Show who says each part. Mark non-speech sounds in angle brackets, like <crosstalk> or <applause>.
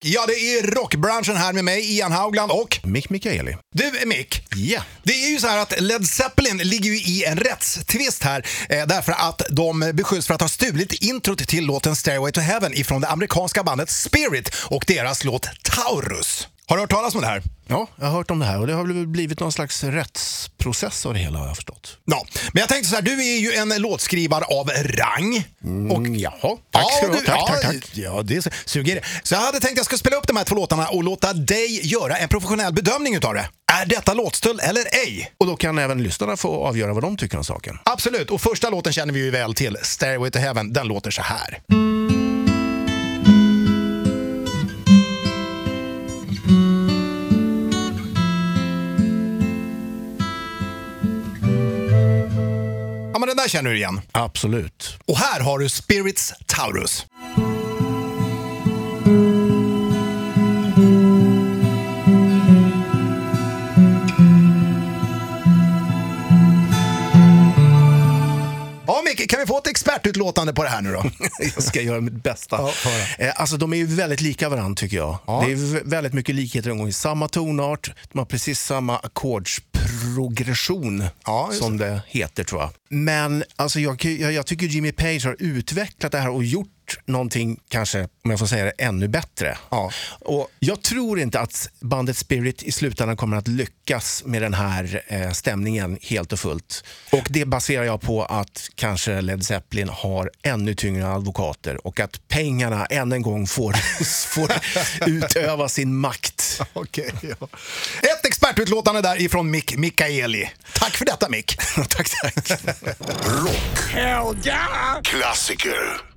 Speaker 1: Ja, det är rockbranschen här med mig, Ian Haugland och
Speaker 2: Mick Mikaeli.
Speaker 1: du Mick.
Speaker 2: Ja.
Speaker 1: Det är ju så här att Led Zeppelin ligger ju i en rättstvist här eh, därför att de beskylls för att ha stulit introt till låten Stairway to Heaven ifrån det amerikanska bandet Spirit och deras låt Taurus. Har du hört talas om det här?
Speaker 2: Ja, jag har hört om det här och det har väl blivit någon slags rättsprocess av det hela har jag förstått.
Speaker 1: Ja, men jag tänkte så här, du är ju en låtskrivare av rang.
Speaker 2: Och jaha, tack ska du ha.
Speaker 1: du-
Speaker 2: Tack,
Speaker 1: ja,
Speaker 2: tack, tack. Ja, det är,
Speaker 1: Suger det. Så jag hade tänkt att jag skulle spela upp de här två låtarna och låta dig göra en professionell bedömning utav det. Är detta låtstöld eller ej?
Speaker 2: och då kan även lyssnarna få avgöra vad de tycker om saken.
Speaker 1: Absolut, och första låten känner vi ju väl till, Stairway to Heaven. Den låter så här. Ja, men den där känner du igen.
Speaker 2: Absolut.
Speaker 1: Och här har du Spirits Taurus. Ja, Micke, kan vi få ett expertutlåtande på det här nu då?
Speaker 2: <laughs> Jag ska göra mitt bästa.
Speaker 1: Ja, få höra.
Speaker 2: Eh, alltså, de är ju väldigt lika varandra tycker jag. Det är vä- väldigt mycket likheter. De går i samma tonart, de har precis samma ackordsprogression
Speaker 1: Ja, just
Speaker 2: som det heter tror jag. Men alltså, jag, kan ju- jag, jag tycker Jimmy Page har utvecklat det här och gjort någonting, kanske, om jag får säga det, ännu bättre.
Speaker 1: Ja.
Speaker 2: Och jag tror inte att bandet Spirit i slutändan kommer att lyckas med den här eh, stämningen helt och fullt. Och det baserar jag på att kanske Led Zeppelin har ännu tyngre advokater och att pengarna än en gång får, <laughs> får utöva sin makt.
Speaker 1: <laughs> Okej, ja. Ett expertutlåtande där ifrån Mick Mikaeli. Tack för detta
Speaker 2: <laughs>
Speaker 1: Mick. tack, tack.
Speaker 3: Klassiker.